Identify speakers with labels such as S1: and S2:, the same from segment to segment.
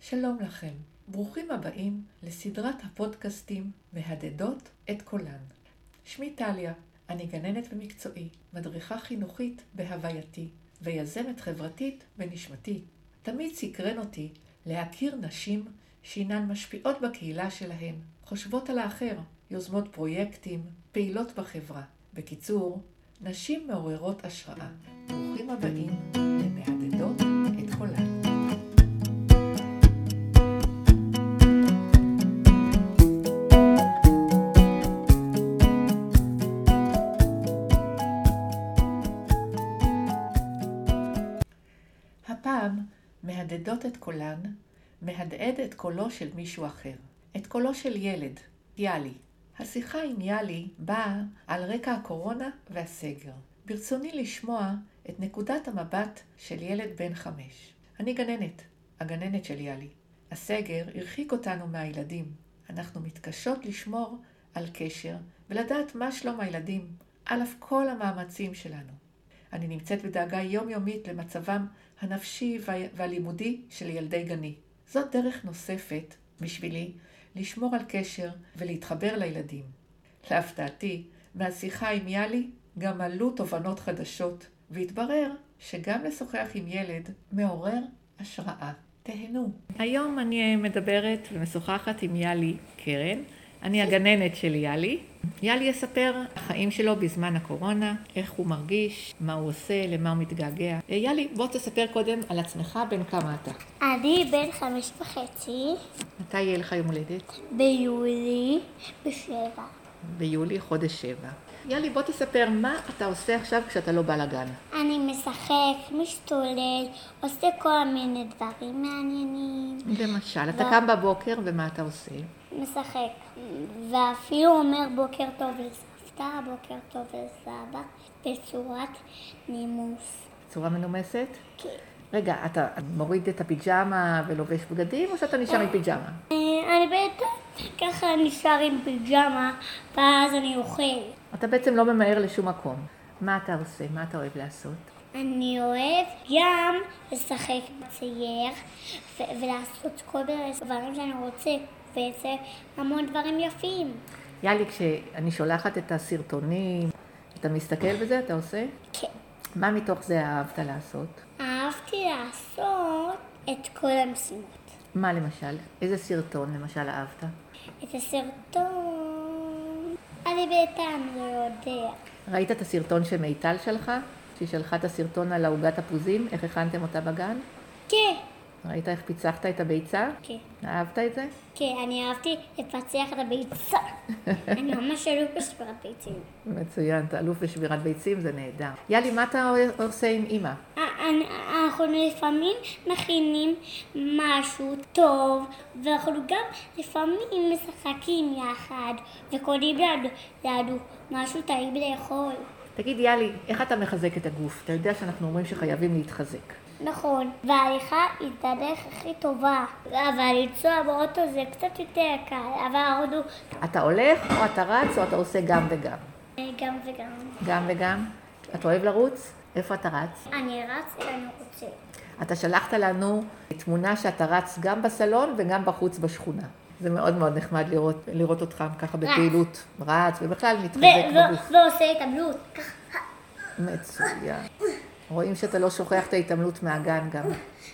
S1: שלום לכם, ברוכים הבאים לסדרת הפודקאסטים מהדהדות את קולן. שמי טליה, אני גננת במקצועי, מדריכה חינוכית בהווייתי ויזמת חברתית בנשמתי. תמיד סקרן אותי להכיר נשים שהינן משפיעות בקהילה שלהן, חושבות על האחר, יוזמות פרויקטים, פעילות בחברה. בקיצור, נשים מעוררות השראה. ברוכים הבאים למהדהדות את קולן. הפעם מהדהדות את קולן, מהדהד את קולו של מישהו אחר. את קולו של ילד, יאלי. השיחה עם יאלי באה על רקע הקורונה והסגר. ברצוני לשמוע את נקודת המבט של ילד בן חמש. אני גננת, הגננת של יאלי. הסגר הרחיק אותנו מהילדים. אנחנו מתקשות לשמור על קשר ולדעת מה שלום הילדים, על אף כל המאמצים שלנו. אני נמצאת בדאגה יומיומית למצבם הנפשי וה- והלימודי של ילדי גני. זאת דרך נוספת בשבילי לשמור על קשר ולהתחבר לילדים. להפתעתי, מהשיחה עם יאלי גם עלו תובנות חדשות, והתברר שגם לשוחח עם ילד מעורר השראה. תהנו. היום אני מדברת ומשוחחת עם יאלי קרן. אני הגננת של יאלי. יאלי יספר החיים שלו בזמן הקורונה, איך הוא מרגיש, מה הוא עושה, למה הוא מתגעגע. אה, יאלי, בוא תספר קודם על עצמך, בן כמה אתה.
S2: אני בן חמש וחצי,
S1: מתי יהיה לך יום הולדת?
S2: ביולי, בשבע.
S1: ביולי, חודש שבע. יאלי, בוא תספר מה אתה עושה עכשיו כשאתה לא בא לגן.
S2: אני משחק, משתולל, עושה כל מיני דברים מעניינים.
S1: למשל, אתה קם בבוקר ומה אתה עושה?
S2: משחק, ואפילו אומר בוקר טוב לסבתא, בוקר טוב לסבא, בצורת נימוס.
S1: צורה מנומסת?
S2: כן.
S1: רגע, אתה מוריד את הפיג'מה ולובש בגדים, או שאתה נשאר עם פיג'מה?
S2: אה, אני בינתיים ככה נשאר עם פיג'מה, ואז אני אוכל.
S1: אתה בעצם לא ממהר לשום מקום. מה אתה עושה? מה אתה אוהב לעשות?
S2: אני אוהב גם לשחק בצייר ו- ולעשות כל מיני דברים שאני רוצה, וזה המון דברים יפים.
S1: יאלי, כשאני שולחת את הסרטונים, אתה מסתכל בזה, אתה עושה?
S2: כן.
S1: מה מתוך זה אהבת לעשות?
S2: אהבתי לעשות את כל המשימות.
S1: מה למשל? איזה סרטון למשל אהבת?
S2: את הסרטון, אני בינתיים לא יודע.
S1: ראית את הסרטון שמיטל שלחה? שהיא שלחה את הסרטון על העוגת תפוזים, איך הכנתם אותה בגן?
S2: כן,
S1: ראית איך פיצחת את הביצה?
S2: כן,
S1: אהבת את זה?
S2: כן, אני אהבתי לפצח את הביצה. אני ממש אלוף בשביל הביצים.
S1: מצוין, אתה אלוף בשבירת ביצים, זה נהדר. יאלי, מה אתה עושה עם אימא?
S2: אנחנו לפעמים מכינים משהו טוב, ואנחנו גם לפעמים משחקים יחד, וקונים לנו, לנו משהו טעים לאכול.
S1: תגיד, יאלי, איך אתה מחזק את הגוף? אתה יודע שאנחנו אומרים שחייבים להתחזק.
S2: נכון, וההליכה היא הדרך הכי טובה, אבל לנסוע באוטו זה קצת יותר קל, אבל הרודו
S1: אתה הולך, או אתה רץ, או אתה עושה גם וגם.
S2: גם וגם.
S1: גם וגם? אתה אוהב לרוץ? איפה אתה רץ?
S2: אני רץ, אני רוצה.
S1: אתה שלחת לנו תמונה שאתה רץ גם בסלון וגם בחוץ בשכונה. זה מאוד מאוד נחמד לראות, לראות אותך ככה בפעילות רץ, ובכלל מתחזק
S2: ו-
S1: בגוף.
S2: ו- ועושה התעמלות, ככה.
S1: מצוין. רואים שאתה לא שוכח את ההתעמלות מהגן גם.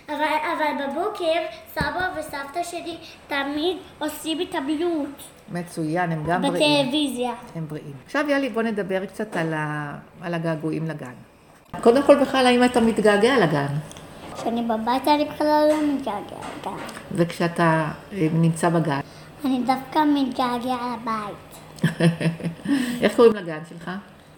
S2: אבל, אבל בבוקר סבא וסבתא שלי תמיד עושים התעמלות.
S1: מצוין, הם גם בריאים.
S2: בטלוויזיה.
S1: הם בריאים. עכשיו, יאלי, בוא נדבר קצת על, ה... על הגעגועים לגן. קודם כל, בכלל, האם אתה מתגעגע לגן?
S2: כשאני בבית אני בכלל לא מתגעגע לגן.
S1: וכשאתה אה, נמצא בגן.
S2: אני דווקא מתגעגע לבית.
S1: איך קוראים לגן שלך?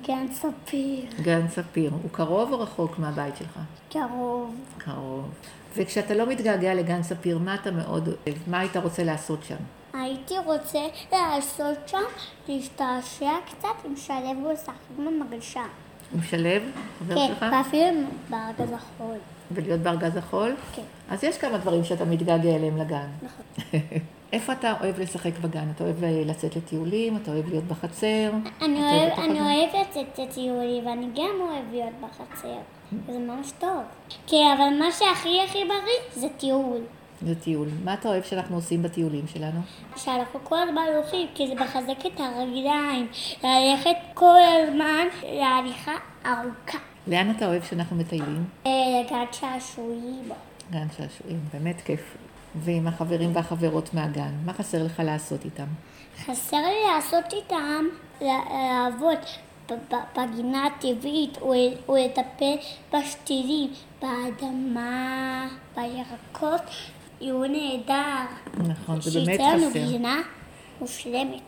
S2: גן ספיר,
S1: גן ספיר. הוא קרוב או רחוק מהבית שלך?
S2: קרוב.
S1: קרוב. וכשאתה לא מתגעגע לגן ספיר, מה אתה מאוד אוהב? מה היית רוצה לעשות שם?
S2: הייתי רוצה לעשות שם, להשתעשע קצת עם שלו ולשחק במגלשה.
S1: עם שלו, חבר שלך?
S2: כן, ואפילו עם בארגז החול.
S1: ולהיות בארגז החול?
S2: כן.
S1: אז יש כמה דברים שאתה מתגעגע אליהם לגן.
S2: נכון.
S1: איפה אתה אוהב לשחק בגן? אתה אוהב אה, לצאת לטיולים? אתה אוהב להיות בחצר?
S2: אני
S1: אתה
S2: אוהב-
S1: בתוך
S2: אני
S1: הגן?
S2: אוהב לצאת לטיולי, ואני גם אוהב להיות בחצר. זה ממש טוב. כן, אבל מה שהכי הכי בריא זה טיול.
S1: לטיול. מה אתה אוהב שאנחנו עושים בטיולים שלנו?
S2: שאנחנו כל הזמן הולכים, כי זה מחזק את הרגליים. ללכת כל הזמן להליכה ארוכה.
S1: לאן אתה אוהב שאנחנו מטיילים?
S2: אה, לגן שעשועים.
S1: גן שעשועים, באמת כיף. ועם החברים והחברות מהגן, מה חסר לך לעשות איתם?
S2: חסר לי לעשות איתם, ל- לעבוד ב- ב- בגינה הטבעית, או, או לטפל בשתילים, באדמה, בירקות, יהיו נהדר.
S1: נכון, זה באמת
S2: שייצא לנו
S1: חסר.
S2: גינה מושלמת.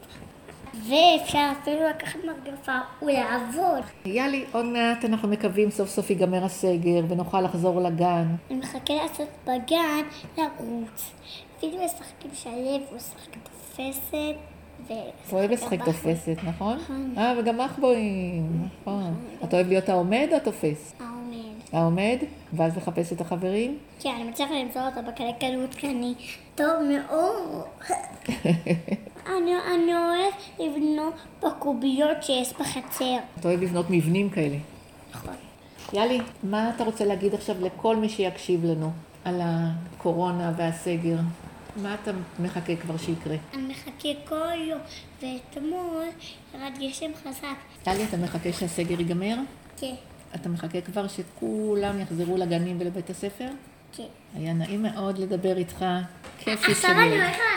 S2: ואפשר אפילו לקחת מגפה ולעבוד.
S1: יאלי, עוד מעט אנחנו מקווים סוף סוף ייגמר הסגר ונוכל לחזור לגן.
S2: אני מחכה לעשות בגן, לרוץ. אפילו לשחק עם שלו, הוא שחק תופסת. ו-
S1: אתה אוהב לשחק
S2: טבח.
S1: תופסת, נכון? אה, וגם מחבואים, נכון. אתה אוהב להיות העומד או התופס?
S2: העומד.
S1: העומד, ואז לחפש את החברים?
S2: כן, אני מצליחה למצוא אותו בקלי קלות, כי אני טוב מאוד. אני, אני אוהב לבנות בקוביות שיש בחצר.
S1: אתה אוהב לבנות מבנים כאלה.
S2: נכון.
S1: יאלי, מה אתה רוצה להגיד עכשיו לכל מי שיקשיב לנו על הקורונה והסגר? מה אתה מחכה כבר שיקרה?
S2: אני מחכה כל יום, ואתמול ירד גשם חזק.
S1: יאלי, אתה מחכה שהסגר ייגמר?
S2: כן,
S1: אתה מחכה כבר שכולם יחזרו לגנים ולבית הספר?
S2: כן.
S1: היה נעים מאוד לדבר איתך. כיף לי
S2: עכשיו
S1: שלי.
S2: אני הולכת